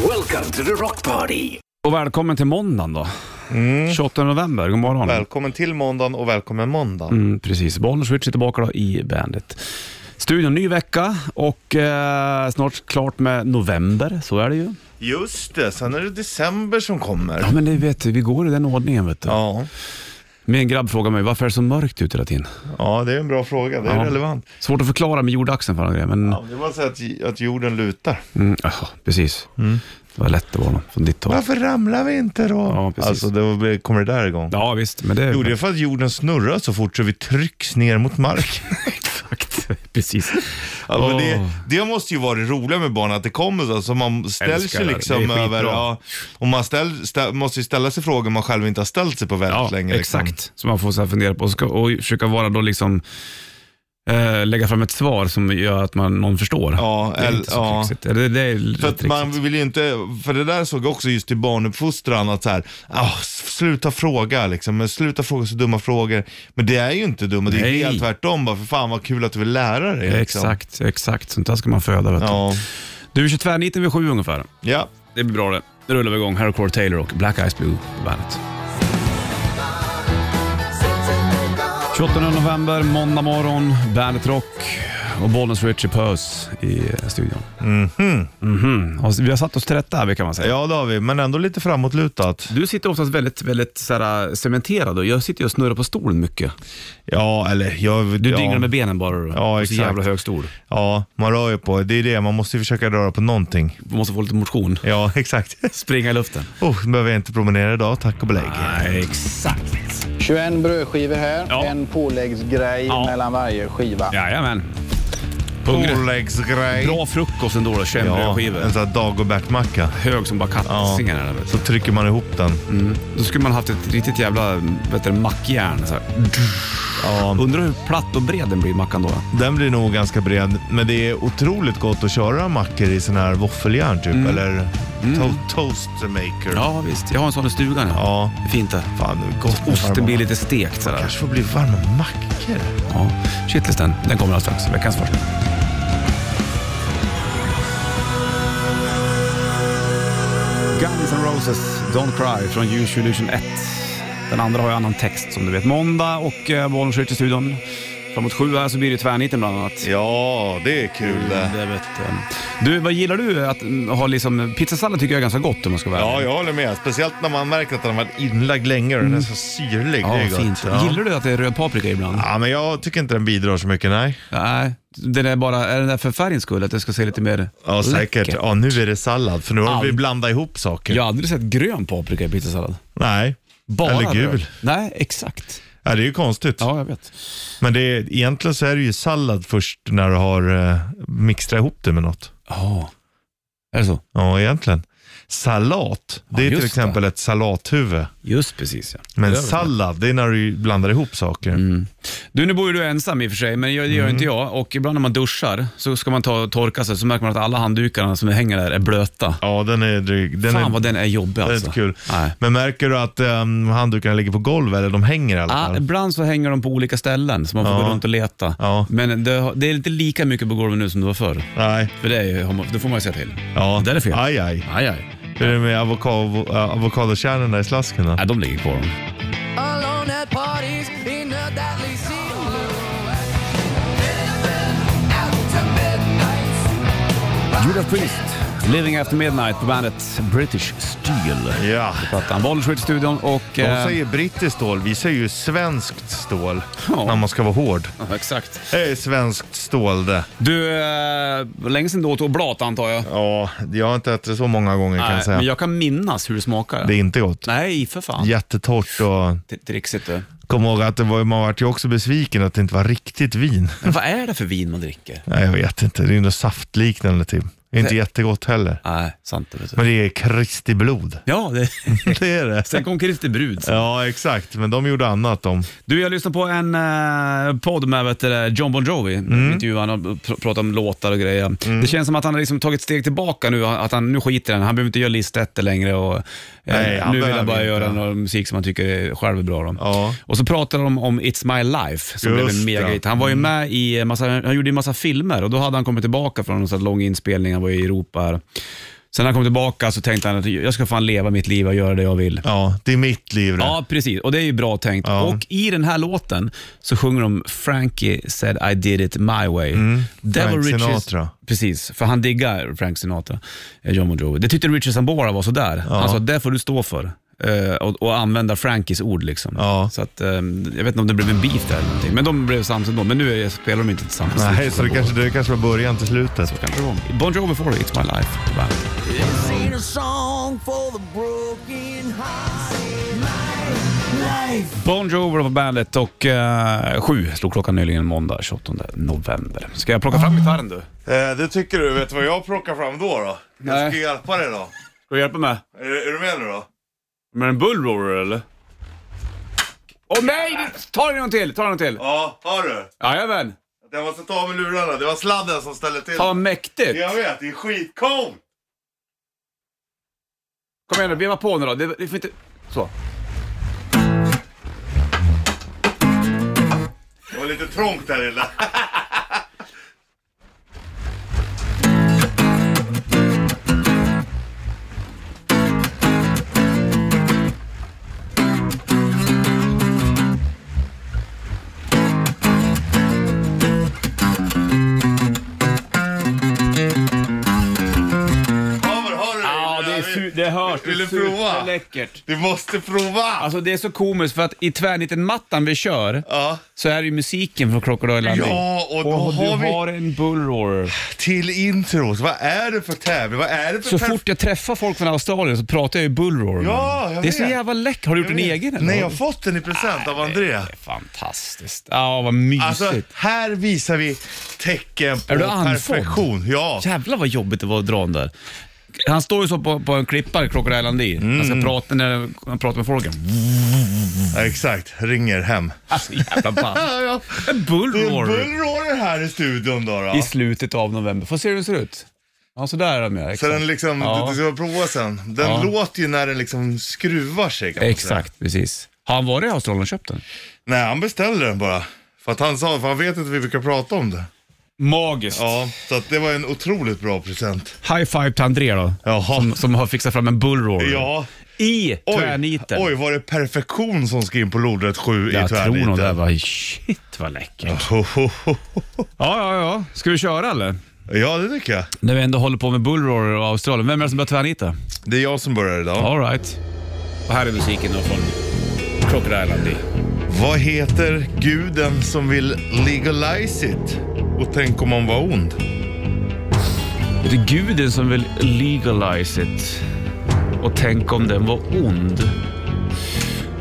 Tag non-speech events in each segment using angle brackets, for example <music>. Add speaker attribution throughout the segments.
Speaker 1: Welcome to the rock party.
Speaker 2: Och välkommen till måndagen då. 28 november, god morgon.
Speaker 3: Mm. Välkommen till måndagen och välkommen måndag.
Speaker 2: Mm, precis, Bollnäs Richie tillbaka då i bandet. Studion, ny vecka och eh, snart klart med november, så är det ju.
Speaker 3: Just det, sen är det december som kommer.
Speaker 2: Ja men det vet du, vi går i den ordningen vet du.
Speaker 3: Ja,
Speaker 2: Min grabb frågar mig, varför är det så mörkt ute hela tiden?
Speaker 3: ja det är en bra fråga. Det är
Speaker 2: Ja.
Speaker 3: relevant.
Speaker 2: Svårt att förklara med jordaxeln för alla grejer, men
Speaker 3: Ja, det var så att, att jorden lutar.
Speaker 2: mm, jaha, precis. Det var lätt det var då, från ditt håll.
Speaker 3: Mm. Varför ramlar vi inte då?
Speaker 2: Ja, precis.
Speaker 3: alltså, då kommer det där igång.
Speaker 2: Ja visst, men det...
Speaker 3: Jo, det är för att jorden snurrar så fort så vi trycks ner mot <laughs> marken.
Speaker 2: Exakt, <laughs> precis.
Speaker 3: Alltså,
Speaker 2: Åh.
Speaker 3: det, det måste ju vara det roliga med barn, att det kommer så. Alltså, man ställer
Speaker 2: Älskar
Speaker 3: sig
Speaker 2: det. Det är
Speaker 3: liksom
Speaker 2: skitbra.
Speaker 3: över... Ja, och man ställ, stä, måste ju ställa sig frågor man själv inte har ställt sig på väldigt
Speaker 2: Ja,
Speaker 3: länge. liksom.
Speaker 2: exakt. Som man får så här fundera på och, ska, och försöka vara då liksom eh, lägga fram ett svar som gör att man, någon förstår.
Speaker 3: Ja,
Speaker 2: det är
Speaker 3: el-
Speaker 2: inte så
Speaker 3: ja.
Speaker 2: trixigt. Eller Det, det är
Speaker 3: För
Speaker 2: lite
Speaker 3: att man
Speaker 2: trixigt.
Speaker 3: vill ju inte, för det där såg jag också just i barnuppfostran att så här, ah, s- sluta fråga liksom, men sluta fråga så dumma frågor. Men det är ju inte dumma, det är
Speaker 2: Nej.
Speaker 3: helt tvärtom bara, för fan vad kul att du vill lära dig. Liksom.
Speaker 2: Exakt, exakt. Sånt där ska man föda. Vet
Speaker 3: Ja.
Speaker 2: du. du, kör tvärniten vid sju ungefär.
Speaker 3: ja.
Speaker 2: Det blir bra det. Nu rullar vi igång. Här är Core Taylor och Black Eyes Blue på bandet. 28 november, måndag morgon, Bandet Rock och Bollnäs Richie Puss i eh, studion. Mhm. Och Vi har satt oss till rätta här kan man säga.
Speaker 3: ja, det har vi, men ändå lite framåtlutat.
Speaker 2: Du sitter oftast väldigt, väldigt så här, äh, cementerad och jag sitter ju och snurrar på stolen mycket.
Speaker 3: Ja, eller jag...
Speaker 2: Du
Speaker 3: ja.
Speaker 2: dinglar med benen bara du.
Speaker 3: Ja,
Speaker 2: Och så
Speaker 3: exakt.
Speaker 2: jävla hög stol.
Speaker 3: Ja, man rör ju på, det är det, man måste ju försöka röra på någonting.
Speaker 2: Man måste få lite motion.
Speaker 3: Ja, <laughs> exakt.
Speaker 2: Springa i luften.
Speaker 3: Oh, nu behöver jag inte promenera idag, tack och belägg.
Speaker 2: Nej, exakt.
Speaker 4: 21 brödskivor här,
Speaker 2: Ja.
Speaker 4: en påläggsgrej
Speaker 2: Ja.
Speaker 4: mellan varje skiva.
Speaker 2: Jajamän. Hungrig.
Speaker 3: Påläggsgrej.
Speaker 2: Bra frukost ändå då, 21
Speaker 3: Ja,
Speaker 2: brödskivor.
Speaker 3: en sån här Dagobertmacka.
Speaker 2: Hög som bara
Speaker 3: Ja.
Speaker 2: kattsingen. Ja.
Speaker 3: Så trycker man ihop den.
Speaker 2: Mm. Då skulle man haft ett riktigt jävla vet du, mackjärn. Så
Speaker 3: Mm.
Speaker 2: här.
Speaker 3: Ja.
Speaker 2: Undrar hur platt och bred den blir, mackan då.
Speaker 3: Den blir nog ganska bred, men det är otroligt gott att köra mackor i sån här våffeljärn typ, eller to- toastmaker.
Speaker 2: Mm. Ja, visst. Jag har en sån i stugan. Ja.
Speaker 3: ja.
Speaker 2: Fint det.
Speaker 3: Fan, det är gott med
Speaker 2: Osten
Speaker 3: varma-
Speaker 2: blir lite stekt sådär.
Speaker 3: kanske får bli varma mackor.
Speaker 2: Ja, shitlisten, den kommer alldeles strax. Veckans första. Guns N' Roses, Don't Cry från Use Your Illusion 1. Den andra har ju annan text som du vet. Måndag och eh, Bollnäs i studion. Framåt sju här så blir det tvärniten bland annat.
Speaker 3: Ja, det är kul det.
Speaker 2: Det vet, eh. du, vad gillar du att mm, ha liksom, pizzasallad tycker jag är ganska gott om man ska vara
Speaker 3: Ja,
Speaker 2: ärlig.
Speaker 3: jag håller med. Speciellt när man märker att den har varit inlagd länge och den är så syrlig. det är
Speaker 2: Mm. ja
Speaker 3: gott.
Speaker 2: fint.
Speaker 3: Ja.
Speaker 2: Gillar du att det är röd paprika ibland?
Speaker 3: Ja, men jag tycker inte den bidrar så mycket, nej.
Speaker 2: Nej, den är bara, är den där för färgens skull? Att det ska se lite mer
Speaker 3: Ja, säkert.
Speaker 2: läckert?
Speaker 3: Ja, nu är det sallad, för nu har vi
Speaker 2: Allt.
Speaker 3: blandat ihop saker.
Speaker 2: Jag har aldrig sett grön paprika i pizzasallad.
Speaker 3: Nej.
Speaker 2: Bara
Speaker 3: Eller gul.
Speaker 2: röd. Nej, exakt.
Speaker 3: Ja, det är ju konstigt.
Speaker 2: Ja, jag vet.
Speaker 3: Men det är, egentligen så är det ju sallad först när du har eh, mixtrat ihop det med något.
Speaker 2: Ja. Är det så?
Speaker 3: Ja, egentligen. Salat, det är
Speaker 2: just
Speaker 3: till
Speaker 2: det.
Speaker 3: exempel ett salathuvud.
Speaker 2: Just precis ja.
Speaker 3: Men
Speaker 2: Det Mm. är väl
Speaker 3: sallad, det är när du blandar ihop saker.
Speaker 2: det. Du, nu bor ju du ensam i och för sig, men det gör det gör inte jag. Och ibland när man duschar så ska man ta och torka sig, så märker man att alla handdukarna som hänger där är blöta.
Speaker 3: Ja, den är dryg. Den
Speaker 2: Fan
Speaker 3: är,
Speaker 2: vad den är jobbig
Speaker 3: den är
Speaker 2: alltså.
Speaker 3: inte kul.
Speaker 2: Nej.
Speaker 3: Men märker du att um, handdukarna ligger på golvet eller de hänger i alla
Speaker 2: Ah,
Speaker 3: fall?
Speaker 2: ibland så hänger de på olika ställen, så man får
Speaker 3: Ja.
Speaker 2: gå runt och leta.
Speaker 3: Ja.
Speaker 2: Men det, det är inte lika mycket på golvet nu som det var förr.
Speaker 3: Nej.
Speaker 2: För det, är, ju- har man- det får man ju säga till.
Speaker 3: Ja.
Speaker 2: Det där är fel.
Speaker 3: Aj, aj.
Speaker 2: Aj, aj.
Speaker 3: Hur är det med avokado, äh, avokadokärnen där i slasken då?
Speaker 2: Nej, de ligger kvar de.
Speaker 5: Alone at parties in a deadly silhouette. Out to midnight.
Speaker 2: Judas Priest, Living After Midnight på bandet British Steel.
Speaker 3: Ja.
Speaker 2: Plattan Bollers i studion och...
Speaker 3: De
Speaker 2: eh,
Speaker 3: säger brittiskt stål, vi säger ju svenskt stål.
Speaker 2: Ja.
Speaker 3: När man ska vara hård.
Speaker 2: ja, exakt.
Speaker 3: Det är svenskt stål det.
Speaker 2: Du, eh, länge sedan du åt oblat antar jag?
Speaker 3: Ja, jag har inte ätit det så många gånger kan jag
Speaker 2: men
Speaker 3: säga.
Speaker 2: jag kan minnas hur det smakar.
Speaker 3: Det är inte gott.
Speaker 2: Nej, för fan.
Speaker 3: Jättetort och
Speaker 2: Det är Trixigt du.
Speaker 3: kom ihåg att det var, man vart ju också besviken att det inte var riktigt vin.
Speaker 2: Men vad är det för vin man dricker?
Speaker 3: Nej, jag vet inte. Det är ju något saftliknande typ. Det är inte
Speaker 2: Det-
Speaker 3: jättegott heller.
Speaker 2: Nej, sant det vet du.
Speaker 3: Men det är Kristi blod.
Speaker 2: Ja, <laughs> det...
Speaker 3: Det är det.
Speaker 2: sen kom Kristi brud.
Speaker 3: Ja, exakt. Men de gjorde annat de.
Speaker 2: Du, jag lyssnade på en eh, podd med vet du, det, John Bon Jovi. Mm. Intervjuade han och pr- pratade om låtar och grejer.
Speaker 3: Mm.
Speaker 2: Det känns som att han har liksom tagit ett steg tillbaka nu. Att han nu skiter i den. Han behöver inte göra listetter längre. Och, eh,
Speaker 3: Nej, han
Speaker 2: nu vill han
Speaker 3: behöver
Speaker 2: bara
Speaker 3: inte.
Speaker 2: göra någon musik som han tycker är- själv är bra. Om.
Speaker 3: Ja.
Speaker 2: Och så pratade de om It's My Life som blev en
Speaker 3: Just Mm.
Speaker 2: megahit. Han var ju med i eh, en massa, han gjorde ju en massa filmer och då hade han kommit tillbaka från en sån här lång inspelning. Han var i Europa här. Sen när han kom tillbaka så tänkte han att jag ska fan leva mitt liv och göra det jag vill.
Speaker 3: Ja, det är mitt liv det.
Speaker 2: Ja, precis. Och det är ju bra tänkt.
Speaker 3: Ja.
Speaker 2: Och i den här låten så sjunger de Frankie said I did it my way. Det
Speaker 3: Mm. Frank
Speaker 2: var Richards-
Speaker 3: Sinatra.
Speaker 2: Precis, för han diggar Frank Sinatra, eh, John Bon Jovi. Det tyckte Richard Sambora var sådär. Han sa det får du stå för. Eh, och, och använda Frankies ord liksom.
Speaker 3: Ja.
Speaker 2: Så att, eh, jag vet inte om det blev en beef där eller någonting. Men de blev sams ändå. Men nu är- spelar de inte tillsammans.
Speaker 3: Nej, så det kanske, det kanske var början till slutet.
Speaker 2: Kanske de. Bon Jovi får det, It's My Life. på bandet.
Speaker 5: This ain't a song for the broken hearted.
Speaker 2: Bon Jovi på bandet och eh, sju slog klockan nyligen måndag 28 november. Ska jag plocka fram gitarren du? Ska
Speaker 3: Eh, det tycker du. Vet du vad jag plockar fram då? då?
Speaker 2: Nej.
Speaker 3: Jag ska hjälpa dig då.
Speaker 2: du hjälpa mig?
Speaker 3: Är, är du med nu då?
Speaker 2: Med en bullroarer eller? Åh nej! Ta dig någon till, ta dig någon till.
Speaker 3: Ja, hör du?
Speaker 2: Jajamän.
Speaker 3: Jag måste ta av mig lurarna. Det var sladden som ställde till
Speaker 2: Ta mäktigt.
Speaker 3: Jag vet, det är skitcoolt!
Speaker 2: Kom igen nu, veva på nu då. Det, det får inte... Så.
Speaker 3: Det var lite trångt där inne. Haver, har du det?
Speaker 2: Ja, det, är su- det hörs.
Speaker 3: Vill
Speaker 2: det
Speaker 3: du
Speaker 2: är surt,
Speaker 3: prova?
Speaker 2: det är läckert.
Speaker 3: Du måste prova!
Speaker 2: Alltså det är så komiskt för att i tvärniten-mattan vi kör
Speaker 3: Ja.
Speaker 2: så är det ju musiken från Crocodile Landing.
Speaker 3: Ja, och då har
Speaker 2: du
Speaker 3: vi-
Speaker 2: har en bullroarer.
Speaker 3: Till intros, vad är det för tävling? Vad är det för
Speaker 2: Så
Speaker 3: tävling?
Speaker 2: fort jag träffar folk från Australien så pratar jag ju bullroar.
Speaker 3: Ja, jag
Speaker 2: Det är så
Speaker 3: vet.
Speaker 2: jävla läckert. Har du gjort en egen eller?
Speaker 3: Nej, jag har fått den i present av André.
Speaker 2: Fantastiskt. Ja, vad mysigt.
Speaker 3: Alltså, här visar vi tecken på
Speaker 2: Är du andfådd?
Speaker 3: perfektion. Ja.
Speaker 2: Jävlar vad jobbigt det var att dra den där. Han står ju så på, på en klippa, Crocodile Dundee. Han
Speaker 3: Mm.
Speaker 2: ska prata när han pratar med folken.
Speaker 3: ja, exakt. Ringer hem.
Speaker 2: <laughs> Alltså jävla
Speaker 3: <laughs>
Speaker 2: ball.
Speaker 3: Ja, ja.
Speaker 2: En
Speaker 3: Det är
Speaker 2: bullroarer
Speaker 3: bullroarer här i studion då. då.
Speaker 2: i slutet av november. Får se hur den ser ut. Ja, så där är de ju.
Speaker 3: Så
Speaker 2: Exakt.
Speaker 3: den liksom,
Speaker 2: Ja.
Speaker 3: du, du ska prova sen. Den
Speaker 2: Ja.
Speaker 3: låter ju när den liksom skruvar sig. kan man säga.
Speaker 2: Exakt, precis. Har han varit i Australien och köpt den?
Speaker 3: Nej, han beställde den bara. För att han sa, för han vet inte vi brukar prata om det.
Speaker 2: Magiskt.
Speaker 3: Ja, så att det var en otroligt bra present.
Speaker 2: High five till André då,
Speaker 3: Jaha.
Speaker 2: som, som har fixat fram en bullroarer.
Speaker 3: Ja.
Speaker 2: I
Speaker 3: Oj,
Speaker 2: tvärniten.
Speaker 3: oj, var det perfektion som ska in på lodrätt 7 i
Speaker 2: jag tror nog det
Speaker 3: tvärniten?
Speaker 2: var shit vad läckert.
Speaker 3: Hohoho.
Speaker 2: Ja, ja, ja. Ska vi köra eller?
Speaker 3: Ja, det tycker jag.
Speaker 2: När vi ändå håller på med bullroarer och Australien, vem är det som börjar tvärnita?
Speaker 3: Det är jag som börjar idag.
Speaker 2: All right. Och här är musiken då från Crocodile Dundee.
Speaker 3: Vad heter guden som vill legalize it? Och tänk om han var ond?
Speaker 2: Det är guden som vill legalize it. Och tänk om den var ond.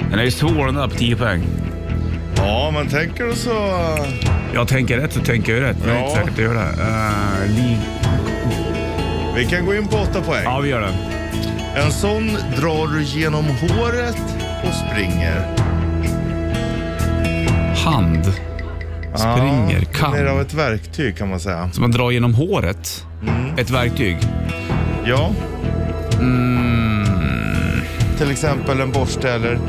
Speaker 2: Den är ju svår den där på 10 poäng.
Speaker 3: Ja, men tänker du så... eh,
Speaker 2: Jag tänker rätt så tänker jag rätt, men jag är inte
Speaker 3: Ja.
Speaker 2: säker på att jag gör det. Eh, li-
Speaker 3: Vi kan gå in på åtta poäng.
Speaker 2: ja, vi gör det.
Speaker 3: En sån drar du genom håret och springer.
Speaker 2: Hand. Springer.
Speaker 3: Ja, det är
Speaker 2: Kan.
Speaker 3: av ett verktyg kan man säga.
Speaker 2: Som man drar genom håret. Ett verktyg.
Speaker 3: Ja.
Speaker 2: Mm.
Speaker 3: Till exempel en borste eller...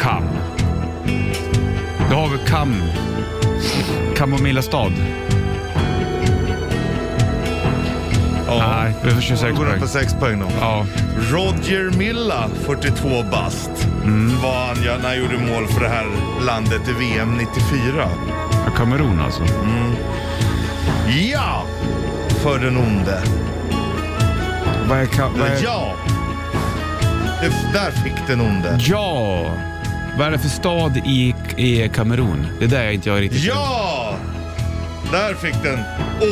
Speaker 2: Kam. Då har vi Kam. Kamomilla stad.
Speaker 3: Ja.
Speaker 2: Nej, vi får 26
Speaker 3: Går upp
Speaker 2: poäng.
Speaker 3: på sex poäng då.
Speaker 2: Ja.
Speaker 3: Roger Milla, 42 bast. Vad han gör när han gjorde mål för det här landet i VM 94.
Speaker 2: Kamerun alltså.
Speaker 3: Ja! För den onde.
Speaker 2: Vad är ka- vad är...
Speaker 3: Ja! Det, där fick den onde.
Speaker 2: Ja! Vad är det för stad i, i Kamerun? Det är där jag inte jag är riktigt
Speaker 3: Ja! Där fick den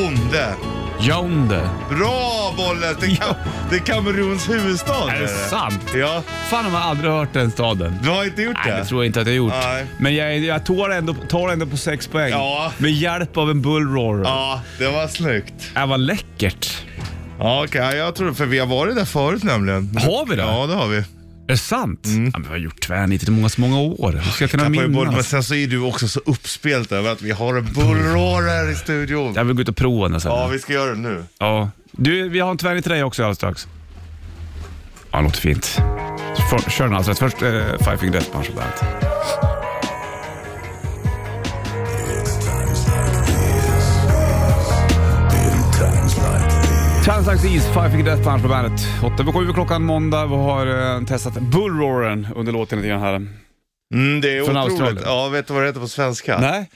Speaker 3: onde.
Speaker 2: Yaoundé.
Speaker 3: Bra bollen! Det,
Speaker 2: Ja.
Speaker 3: kan, det är Kameruns huvudstad.
Speaker 2: Är det sant?
Speaker 3: Ja.
Speaker 2: Fan om jag aldrig hört den staden.
Speaker 3: Du har inte gjort
Speaker 2: Nej,
Speaker 3: det?
Speaker 2: det tror jag inte att jag gjort.
Speaker 3: Nej.
Speaker 2: Men jag, jag tar, ändå, tar ändå på sex poäng.
Speaker 3: Ja.
Speaker 2: Med hjälp av en bullroarer.
Speaker 3: Ja, det var snyggt.
Speaker 2: Äh, vad läckert.
Speaker 3: Ja, okej. Jag tror för vi har varit där förut nämligen.
Speaker 2: Har vi det?
Speaker 3: Ja, det har vi.
Speaker 2: Är det sant? Ja, men vi har gjort tvärnit i många, så många år. Hur ska jag kunna
Speaker 3: tappar ju boll, men
Speaker 2: minnas?
Speaker 3: sen så är du också så uppspelt över att vi har en bullroarer i studion.
Speaker 2: Jag vill gå ut och prova den sen.
Speaker 3: Ja,
Speaker 2: Ja.
Speaker 3: vi ska göra det nu.
Speaker 2: Du, vi har en tvärnit till dig också alldeles strax. Ja, det låter fint. För, kör den alltså. Först eh, Five Finger Death Punch på bandet. Chance Like These, Five Finger Death Punch på bandet. 8 över 7 klockan måndag. Vi har eh, testat Bullroaren under låten lite grann här.
Speaker 3: Mm, det är
Speaker 2: Från
Speaker 3: otroligt.
Speaker 2: Australien.
Speaker 3: Ja, vet du vad det heter på svenska?
Speaker 2: Nej.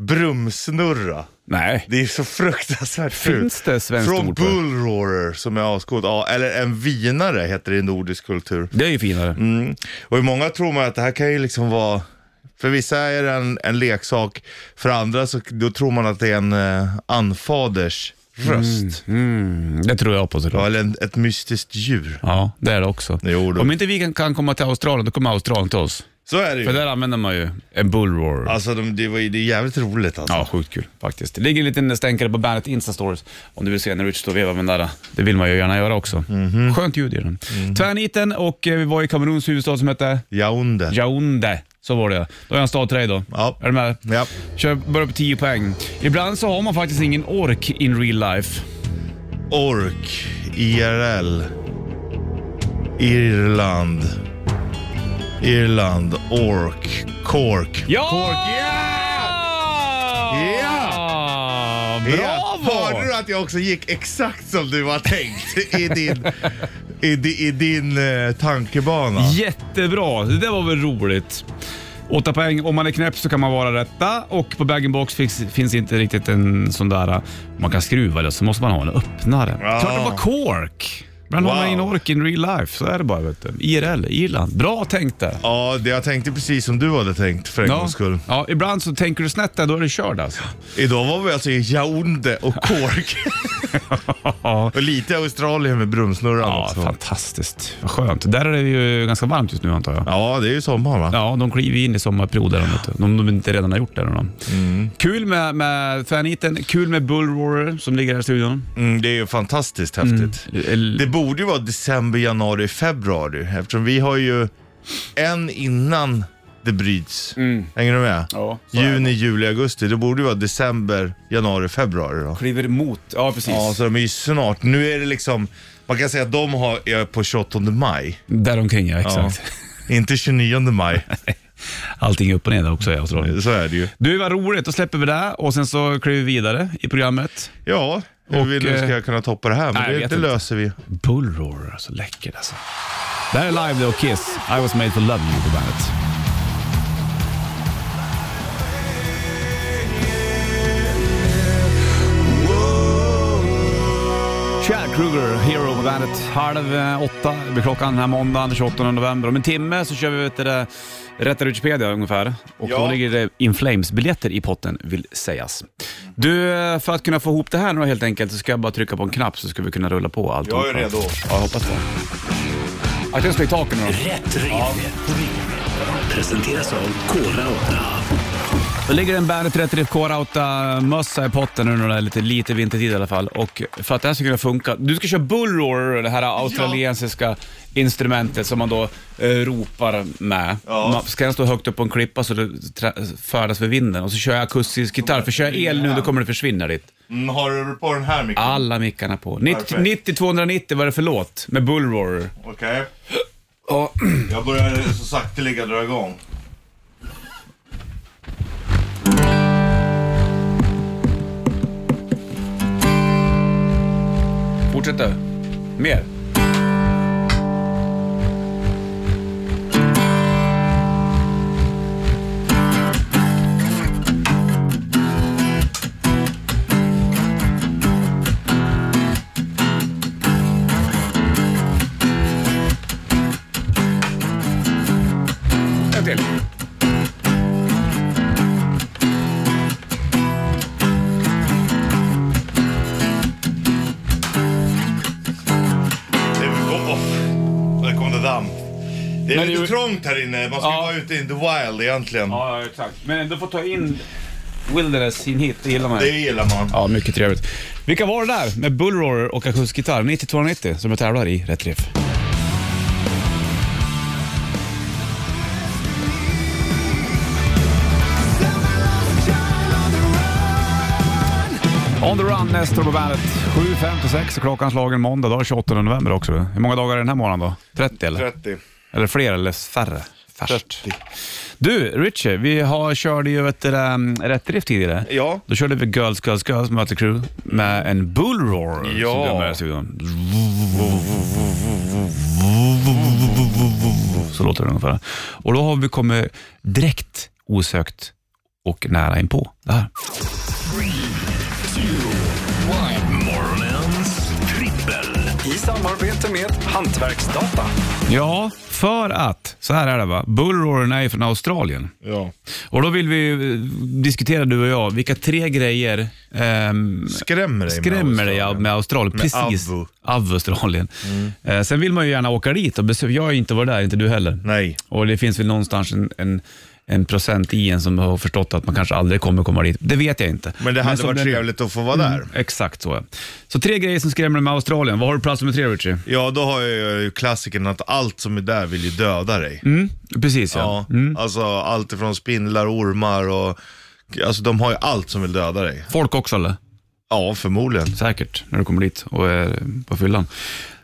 Speaker 3: Brumsnurra.
Speaker 2: Nej.
Speaker 3: Det är så fruktansvärt fult.
Speaker 2: Finns det svenskt
Speaker 3: Från
Speaker 2: ord på det?
Speaker 3: bullroarer som är ascoolt. Ja, eller en vinare heter det i nordisk kultur.
Speaker 2: Det är ju finare.
Speaker 3: Mm. Och i många tror man att det här kan ju liksom vara, för vissa är det en, en leksak, för andra så då tror man att det är en eh, anfaders röst.
Speaker 2: Mm, det tror jag på
Speaker 3: Ja,
Speaker 2: såklart.
Speaker 3: eller en, ett mystiskt djur.
Speaker 2: Ja, det är det också.
Speaker 3: Jo, då.
Speaker 2: Om inte vi kan, kan komma till Australien, då kommer Australien till oss.
Speaker 3: Så är det
Speaker 2: För
Speaker 3: ju.
Speaker 2: där använder man ju en bullroarer.
Speaker 3: Alltså de, det, var, ju- det är jävligt roligt alltså.
Speaker 2: Ja, sjukt kul faktiskt. Det ligger en liten stänkare på bandet Insta Stories om du vill se när Rich står och vevar med den där. Det vill man ju gärna göra också.
Speaker 3: Mhm.
Speaker 2: Skönt ljud i den. Tvärniten och eh, vi var i Kameruns huvudstad som hette
Speaker 3: Yaounde.
Speaker 2: Yaoundé. Så var det ja. Då har jag en stad till dig då.
Speaker 3: Ja.
Speaker 2: Är du med?
Speaker 3: Ja.
Speaker 2: Kör, börjar på 10 poäng. Ibland så har man faktiskt ingen ork in real life.
Speaker 3: Ork. IRL. Irland. Irland. Ork. Kork.
Speaker 2: Ja!
Speaker 3: Kork.
Speaker 2: Yeah!
Speaker 3: Ja,
Speaker 2: Bravo!
Speaker 3: Hörde du att jag också gick exakt som du har tänkt
Speaker 2: <laughs>
Speaker 3: i din, i, di- i din eh, tankebana?
Speaker 2: Jättebra, det där var väl roligt. Åtta poäng, om man är knäpp så kan man vara detta och på bag-in-box finns, finns inte riktigt en sån där, eh, man kan skruva det så måste man ha en öppnare.
Speaker 3: Ja.
Speaker 2: Klart det var kork! Ibland har man
Speaker 3: Wow.
Speaker 2: ingen ork in real life, så är det bara vet du. IRL, Irland. Bra tänkt där.
Speaker 3: Ja, det jag tänkte precis som du hade tänkt för en
Speaker 2: Ja.
Speaker 3: gångs skull.
Speaker 2: ja, ibland så tänker du snett där, då är det körd alltså.
Speaker 3: Idag var vi alltså i Yaounde
Speaker 2: <laughs>
Speaker 3: och Cork. och lite Australien med brumsnurran
Speaker 2: Ja,
Speaker 3: också.
Speaker 2: fantastiskt. Vad skönt. Där är det ju ganska varmt just nu antar jag.
Speaker 3: Ja, det är ju sommar va?
Speaker 2: Ja, de kliver ju in i sommarperioden om de- om de inte redan har gjort det. Då. Kul med, med faniten, kul med Bullroarer som ligger här i studion.
Speaker 3: Mm, det är ju fantastiskt
Speaker 2: Mm.
Speaker 3: häftigt.
Speaker 2: El-
Speaker 3: Det borde ju vara december, januari, februari eftersom vi har ju en innan det bryts. Hänger du med?
Speaker 2: Mm. Ja, så är det.
Speaker 3: Juni, juli, augusti. Det borde ju vara december, januari, februari då.
Speaker 2: Kliver emot, ja precis.
Speaker 3: Ja, så de är ju snart. Nu är det liksom, man kan säga att de har, är på 28 maj.
Speaker 2: Däromkring ja,
Speaker 3: Ja.
Speaker 2: <laughs> exakt.
Speaker 3: Inte 29 maj.
Speaker 2: Allting är upp och ner där också i Australien.
Speaker 3: Så är det ju.
Speaker 2: Du, vad roligt. Då släpper vi det och sen så kliver vi vidare i programmet.
Speaker 3: Ja, hur
Speaker 2: Och,
Speaker 3: vill du ska
Speaker 2: eh,
Speaker 3: jag kunna toppa det här? Men
Speaker 2: nej, jag
Speaker 3: det,
Speaker 2: vet
Speaker 3: det
Speaker 2: inte.
Speaker 3: löser vi.
Speaker 2: Bullroarer, alltså läckert alltså. Det här är Live Day och Kiss. I was made for love you på bandet. Chad Kruger, Hero på bandet. Halv eh, åtta blir klockan den här måndagen den 28 november. Om en timme så kör vi vet du, det, Rätta Wikipedia ungefär. Och då
Speaker 3: Ja.
Speaker 2: ligger det In Flames-biljetter i potten vill sägas. Du, eh, för att kunna få ihop det här nu helt enkelt så ska jag bara trycka på en knapp så ska vi kunna rulla på allt.
Speaker 3: Jag är redo.
Speaker 2: Ja, jag hoppas det. Akta en spektakel nu då.
Speaker 1: Rätt riff. Presenteras av Kora 8.
Speaker 2: Då ligger en Bandet 33 K-Rauta-mössa i potten nu när det är lite, lite vintertid i alla fall. Och för att det här ska kunna funka, du ska köra bullroarer, det här australiensiska instrumentet som man då eh, ropar med.
Speaker 3: Ja.
Speaker 2: Man ska den stå högt upp på en klippa så det tra- färdas för vinden. Och så kör jag akustisk gitarr, för kör jag el nu då kommer det försvinna dit.
Speaker 3: Mm, har du på den här micken?
Speaker 2: Alla mickarna på.
Speaker 3: Perfekt.
Speaker 2: 90-290, vad är det för låt med bullroarer?
Speaker 3: Okej.
Speaker 2: Ja.
Speaker 3: Jag börjar så sakteliga dra igång.
Speaker 2: Fortsätt du. Mer. En till.
Speaker 3: Det går off. Där kom det damm. Det är
Speaker 2: Men
Speaker 3: lite
Speaker 2: det-
Speaker 3: trångt här inne. Man ska ju
Speaker 2: Ja.
Speaker 3: vara ute in the wild egentligen.
Speaker 2: Ja, ja, exakt. Men ändå få ta in Wilderness in hit, det gillar man
Speaker 3: Det gillar man.
Speaker 2: Ja, mycket trevligt. Vilka var det där med Bullroarer och akustikgitarr 9290 som jag tävlar i Rätt Riff? On the run, Nestor på bandet. 7.56 är klockan slagen måndag. Då är det 28 november också. Hur många dagar är den här månaden då? 30 eller?
Speaker 3: 30.
Speaker 2: Eller fler eller färre? Färskt. Du, Richie, vi har, körde ju ett um, rätt drift tidigare.
Speaker 3: Ja.
Speaker 2: Då körde vi Girls, Girls, Girls med Mötley Crüe med en bull roar som
Speaker 3: Ja.
Speaker 2: du har med i studion. Så låter det ungefär. Och då har vi kommit direkt osökt och nära inpå det här.
Speaker 1: Morgonens trippel.
Speaker 6: I samarbete med Hantverksdata.
Speaker 2: Ja, för att, så här är det va, bull roaren är ju från Australien.
Speaker 3: Ja.
Speaker 2: Och då vill vi eh, diskutera du och jag, vilka tre grejer ehm,
Speaker 3: Skrämmer dig med
Speaker 2: skrämmer dig
Speaker 3: Australien.
Speaker 2: med Australien.
Speaker 3: Med Mm.
Speaker 2: Precis.
Speaker 3: Avvo.
Speaker 2: Avvo, Australien. Eh, sen vill man ju gärna åka dit och besöka. Jag har ju inte varit där, inte du heller.
Speaker 3: Nej.
Speaker 2: Och det finns väl någonstans en, en, en procent i en som har förstått att man kanske aldrig kommer komma dit. Det vet jag inte.
Speaker 3: Men det hade
Speaker 2: som
Speaker 3: varit
Speaker 2: den- Mm.
Speaker 3: trevligt att få vara där.
Speaker 2: Exakt så. ja. Så tre grejer som skrämmer dig med Australien. Vad har du på plats nummer tre, Richie?
Speaker 3: Ja, då har jag ju klassiken att allt som är där vill ju döda dig.
Speaker 2: Mm, precis ja.
Speaker 3: Ja,
Speaker 2: Mm.
Speaker 3: Alltså allt ifrån spindlar, ormar och... Alltså de har ju allt som vill döda dig.
Speaker 2: Folk också eller?
Speaker 3: Ja, förmodligen.
Speaker 2: Säkert, när du kommer dit och är på fyllan.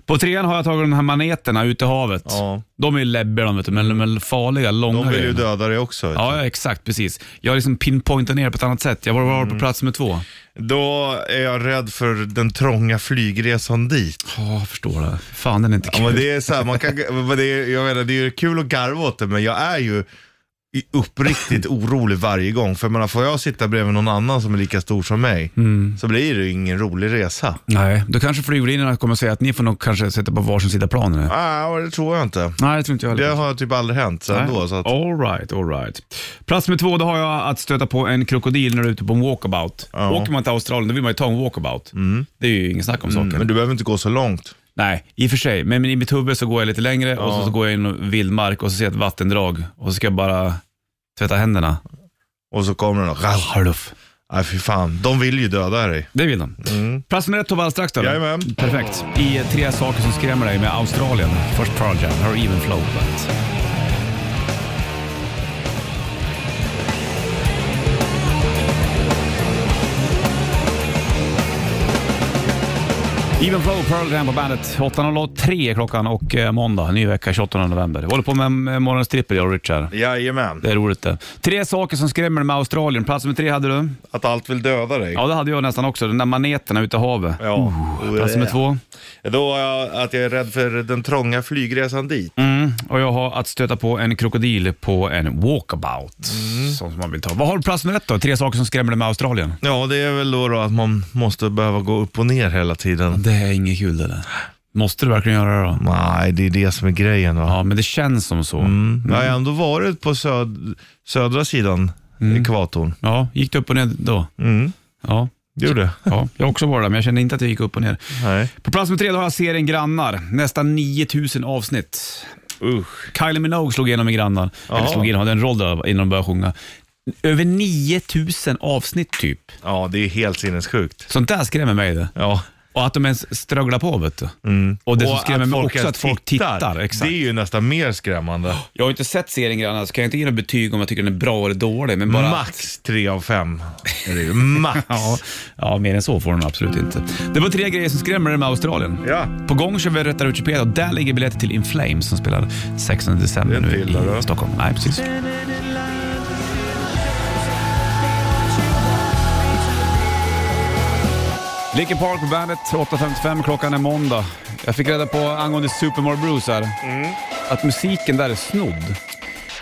Speaker 2: På trean har jag tagit de här maneterna ute i havet.
Speaker 3: Ja.
Speaker 2: De är ju läbbiga de, vet du, men de är farliga, långa
Speaker 3: De vill ju
Speaker 2: grejerna.
Speaker 3: döda dig också.
Speaker 2: Ja, ja, exakt. Precis. Jag har liksom pinpointat ner på ett annat sätt. Jag var, var på
Speaker 3: Mm.
Speaker 2: plats med två.
Speaker 3: Då är jag rädd för den trånga flygresan <laughs> dit.
Speaker 2: Ja, jag förstår det. Fan, den är inte
Speaker 3: Ja,
Speaker 2: kul.
Speaker 3: men det är så här, man kan, men det är, jag menar, det är ju kul att garva åt det, men jag är ju i- <laughs> uppriktigt orolig varje gång. För jag menar, får jag sitta bredvid någon annan som är lika stor som mig, så blir det ju ingen rolig resa.
Speaker 2: Nej, då kanske flygvärdinnorna kommer säga att ni får nog kanske sätta på varsin sida planen. nu.
Speaker 3: Ah, det tror jag inte.
Speaker 2: Nej, det tror inte jag
Speaker 3: Det
Speaker 2: heller.
Speaker 3: har typ aldrig hänt sen då. Så att,
Speaker 2: All right, all right. Plats med två, då har jag att stöta på en krokodil när du är ute på en walkabout.
Speaker 3: Ja. Mm.
Speaker 2: Åker man till Australien, då vill man ju ta en walkabout. Det är ju inget snack om saken.
Speaker 3: men du behöver inte gå så långt.
Speaker 2: Nej, i och för sig. Men i mitt huvud så går jag lite längre och så, så går jag in i vildmark och så ser jag ett vattendrag och så ska jag bara tvätta händerna.
Speaker 3: Och så kommer den och...
Speaker 2: Ralf.
Speaker 3: Nej, fy fan. De vill ju döda dig.
Speaker 2: Det vill de. Plats nummer ett tar vi alldeles strax då.
Speaker 3: Jajamän.
Speaker 2: Perfekt. I tre saker som skrämmer dig med Australien. Först Pearl Jam, här är Even Flow. på bandet. Even Flow, Pearl Jam på bandet. 8.03 är klockan och eh, måndag, ny vecka 28 november. Vi håller på med eh, morgonens trippel jag och Richard.
Speaker 3: Jajamän.
Speaker 2: Det är roligt det. Tre saker som skrämmer dig med Australien. Plats nummer tre hade du.
Speaker 3: Att allt vill döda dig.
Speaker 2: Ja, det hade jag nästan också. Den där maneterna ute i havet.
Speaker 3: Ja. alltså,
Speaker 2: Plats nummer två.
Speaker 3: Då är jag, att jag är rädd för den trånga flygresan dit.
Speaker 2: Mm, och jag har att stöta på en krokodil på en walkabout.
Speaker 3: Mm.
Speaker 2: Sånt som man vill ta. Vad har du på plats nummer ett då? Tre saker som skrämmer dig med Australien.
Speaker 3: Ja, det är väl då, då att man måste behöva gå upp och ner hela tiden.
Speaker 2: Det är inget kul det där. Måste du verkligen göra det då?
Speaker 3: Nej, det är det som är grejen. Va?
Speaker 2: Ja, men det känns som så.
Speaker 3: Mm. Jag har ändå varit på söd, södra sidan ekvatorn.
Speaker 2: Ja, gick du upp och ner då?
Speaker 3: Mm.
Speaker 2: Ja.
Speaker 3: Gjorde
Speaker 2: ja, jag har också varit där, men jag kände inte att jag gick upp och ner.
Speaker 3: Nej.
Speaker 2: På plats nummer tre då har jag serien Grannar. Nästan 9000 avsnitt.
Speaker 3: Usch.
Speaker 2: Kylie Minogue slog igenom i Grannar. Eller slog igenom, hade en roll där innan de började sjunga. Över 9000 avsnitt typ.
Speaker 3: Ja, det är helt sinnessjukt.
Speaker 2: Sånt där skrämmer mig det.
Speaker 3: Ja.
Speaker 2: Och att de ens strögglar på vet du. Och det som skrämmer mig också
Speaker 3: ens
Speaker 2: att folk tittar. Exakt.
Speaker 3: Det är ju nästan mer skrämmande.
Speaker 2: Jag har inte sett serien Grannar, så kan jag inte ge något betyg om jag tycker den är bra eller dålig. Men <gasps> bara...
Speaker 3: Max tre av fem.
Speaker 2: <laughs>
Speaker 3: är det ju. Max.
Speaker 2: Ja, ja, mer än så får den absolut inte. Det var tre grejer som skrämmer dig med Australien.
Speaker 3: Ja.
Speaker 2: På gång kör vi Rätta Wikipedia och där ligger biljetter till In Flames som spelar 16 december
Speaker 3: Den
Speaker 2: nu
Speaker 3: gillar
Speaker 2: i
Speaker 3: du.
Speaker 2: Stockholm. Nej, precis. Linkin Park på bandet, 8.55 klockan är måndag. Jag fick reda på angående Super Mario Bros här, att musiken där är snodd.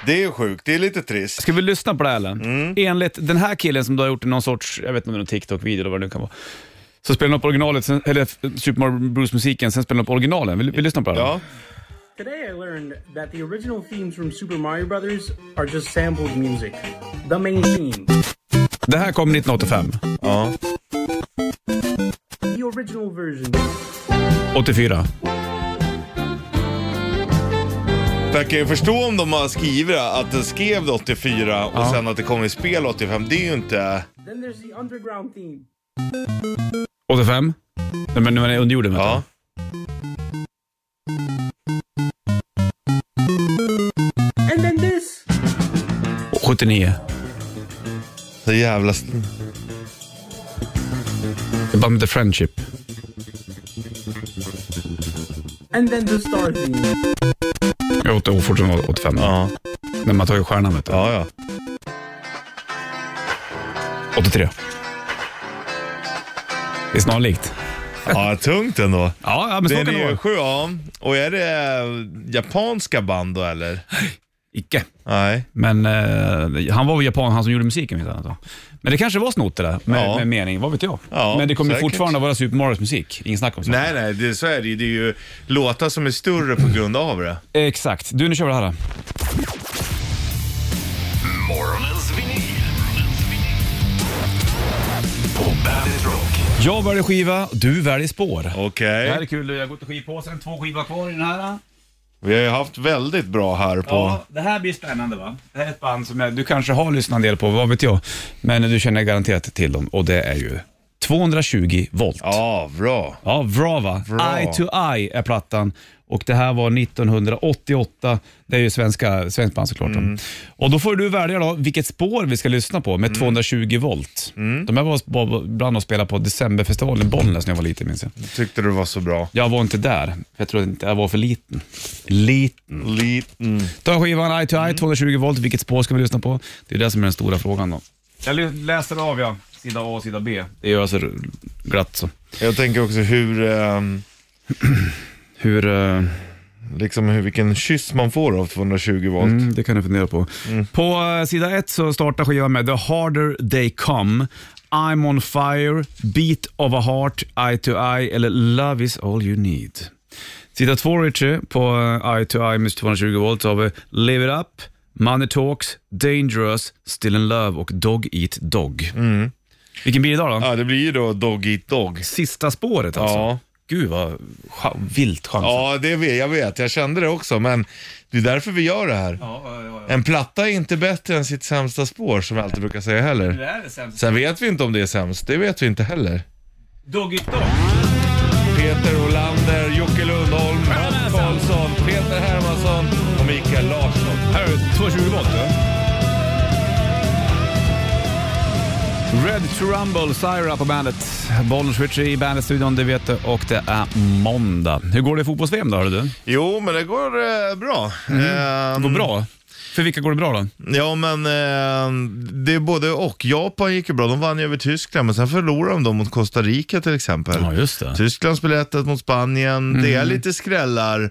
Speaker 3: Det är ju sjukt. Det är lite trist.
Speaker 2: Ska vi lyssna på det här eller? Enligt den här killen som du har gjort någon sorts, jag vet inte om det är någon TikTok-video eller vad det nu kan vara. Så spelar han upp originalet, sen, eller f- Super Mario Bros musiken, sen spelar han upp originalen. Vill vi lyssna på det? här?
Speaker 3: Ja.
Speaker 7: Today I learned that the original themes from Super Mario Brothers are just sampled music. The main theme,
Speaker 2: Det här kom 1985.
Speaker 3: ja.
Speaker 7: the original version.
Speaker 2: 84.
Speaker 3: Jag kan ju förstå om de har skrivit att den skrev det 84 och
Speaker 2: Ja.
Speaker 3: sen att det kom i spel 85. Det är ju inte...
Speaker 7: Then there's the underground theme.
Speaker 2: 85? Nej men nu är det under jorden vet
Speaker 3: Ja.
Speaker 7: And then this!
Speaker 2: du. 79.
Speaker 3: Så jävla...
Speaker 2: Det var med The Friendship.
Speaker 7: And then the star theme.
Speaker 2: Jag åt det fortfarande 85.
Speaker 3: Ja.
Speaker 2: När man tagit stjärnan vet du.
Speaker 3: Ja, ja.
Speaker 2: 83. Det är snarlikt.
Speaker 3: Ja, tungt <laughs> ändå.
Speaker 2: Ja, ja men så
Speaker 3: Den
Speaker 2: kan det
Speaker 3: är
Speaker 2: vara.
Speaker 3: sju, ja. Och är det eh, japanska band då eller?
Speaker 2: Icke.
Speaker 3: Nej.
Speaker 2: Men eh, han var väl japan, han som gjorde musiken. Vet jag inte. Men det kanske var snott det där med,
Speaker 3: Ja.
Speaker 2: med mening, vad vet jag.
Speaker 3: Ja,
Speaker 2: men det kommer ju
Speaker 3: säkert.
Speaker 2: fortfarande vara Super Marios musik, ingen snack om saken.
Speaker 3: Nej, nej, det, så är det ju. Det är ju låtar som är större på grund av det.
Speaker 2: Exakt. Du, nu kör vi det här då.
Speaker 1: Morgonens vinyl. På Bandit Rock.
Speaker 2: Jag väljer skiva, du väljer spår. Det
Speaker 3: Okej.
Speaker 2: här är kul, jag har gått i skivpåsen, två skivor kvar i den här.
Speaker 3: Vi har ju haft väldigt bra här på...
Speaker 2: Ja, det här blir spännande va? Det här är ett band som jag, du kanske har lyssnat en del på, vad vet jag. Men du känner garanterat till dem och det är ju 220 volt.
Speaker 3: Ja, bra.
Speaker 2: Ja, bra va?
Speaker 3: Bra.
Speaker 2: Eye to Eye är plattan. Och det här var 1988. Det är ju svenska, svenskt band såklart. då.
Speaker 3: Mm.
Speaker 2: Och då får du välja då vilket spår vi ska lyssna på med 220 volt.
Speaker 3: Mm.
Speaker 2: De här var var bland att spela på Decemberfestivalen i Bollnäs när jag var liten minns jag.
Speaker 3: Tyckte du var så bra.
Speaker 2: Jag var inte där, för jag trodde inte jag var för liten. Liten.
Speaker 3: Mm. Liten.
Speaker 2: Ta skivan Eye to Eye, 220 volt. Vilket spår ska vi lyssna på? Det är det som är den stora frågan då. Jag läser av ja, sida A och sida B. Det gör jag så glatt så.
Speaker 3: Jag tänker också hur, ehm,
Speaker 2: Hur... eh,
Speaker 3: liksom hur, vilken kyss man får av 220 volt.
Speaker 2: Mm, det kan du fundera på.
Speaker 3: Mm.
Speaker 2: På eh, sida ett så startar skivan med The Harder They Come, I'm On Fire, Beat of a Heart, Eye To Eye eller Love Is All You Need. Sida två Richie, på eh, Eye To Eye med 220 volt så har vi Live It Up, Money Talks, Dangerous, Still In Love och Dog Eat Dog. Vilken blir det idag då?
Speaker 3: Mm. Ja, det blir ju då Dog Eat Dog.
Speaker 2: Sista spåret alltså.
Speaker 3: Ja.
Speaker 2: Gud vad cha- vilt chansat.
Speaker 3: Ja, det vet jag. vet. Jag kände det också, men det är därför vi gör det här. En platta är inte bättre än sitt sämsta spår, som jag alltid brukar säga heller.
Speaker 2: är det sämsta.
Speaker 3: Sen vet vi inte om det är sämst, det vet vi inte heller.
Speaker 2: Dog Eat Dog.
Speaker 3: Peter Olander, Jocke Lundholm, Hans Karlsson, Peter Hermansson och Mikael Larsson.
Speaker 2: Här har du 220 volt. du. Red to Rumble, Syra på bandet. Bollen switcher i bandetstudion, det vet du. Och det är måndag. Hur går det i fotbolls-VM då, hörru du?
Speaker 3: Jo, men det går eh, bra.
Speaker 2: Det
Speaker 3: Ehm,
Speaker 2: går bra. För vilka går det bra då?
Speaker 3: Ja, men eh, det är både och. Japan gick ju bra. De vann ju över Tyskland, men sen förlorade de dem mot Costa Rica till exempel.
Speaker 2: just det. Mhm.
Speaker 3: Tyskland spelar 1 mot Spanien. Det är lite skrällar.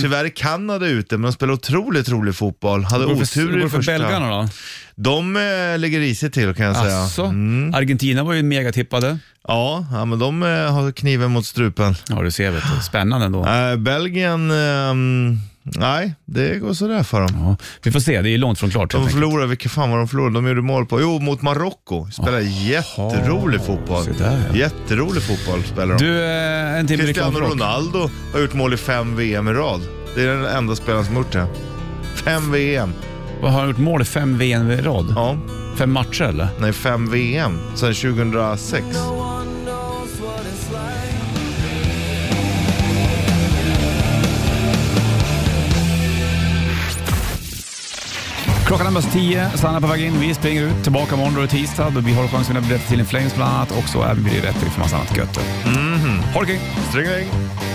Speaker 3: Tyvärr är Kanada ute, men de spelar otroligt rolig fotboll. Hade
Speaker 2: Går det för,
Speaker 3: otur
Speaker 2: går
Speaker 3: i
Speaker 2: det för
Speaker 3: första.
Speaker 2: belgarna då?
Speaker 3: De eh, ligger risigt till kan jag säga. Mm.
Speaker 2: Asså? Argentina var ju megatippade.
Speaker 3: Ja, ja, men de eh, har kniven mot strupen.
Speaker 2: Ja, du ser. Vet du. Spännande ändå.
Speaker 3: Eh, Belgien, eh, nej, det går sådär för dem.
Speaker 2: Ja, vi får se, det är ju långt från klart. helt
Speaker 3: De
Speaker 2: enkelt.
Speaker 3: förlorade, vilka fan var de förlorade? De gjorde mål på, jo mot Marocko. Spelar jätterolig fotboll.
Speaker 2: se där, ja.
Speaker 3: Jätterolig fotboll spelar de.
Speaker 2: Du, eh, en timme reklam
Speaker 3: Cristiano
Speaker 2: för rock.
Speaker 3: Ronaldo har gjort mål i fem VM i rad. Det är den enda spelaren som gjort det. Fem VM.
Speaker 2: Vad Har han gjort mål i fem VM i rad?
Speaker 3: Ja,
Speaker 2: Fem matcher eller?
Speaker 3: nej fem VM. Sen 2006.
Speaker 2: Klockan är nästan 10, Sanna på väg in. Vi springer ut, tillbaka imorgon då är det tisdag och vi har chansen att vinna biljetter till en Flames bland annat och så även blir det rätt för massa annat gött. Mm. Ha det kul.
Speaker 3: Sträng, sträng.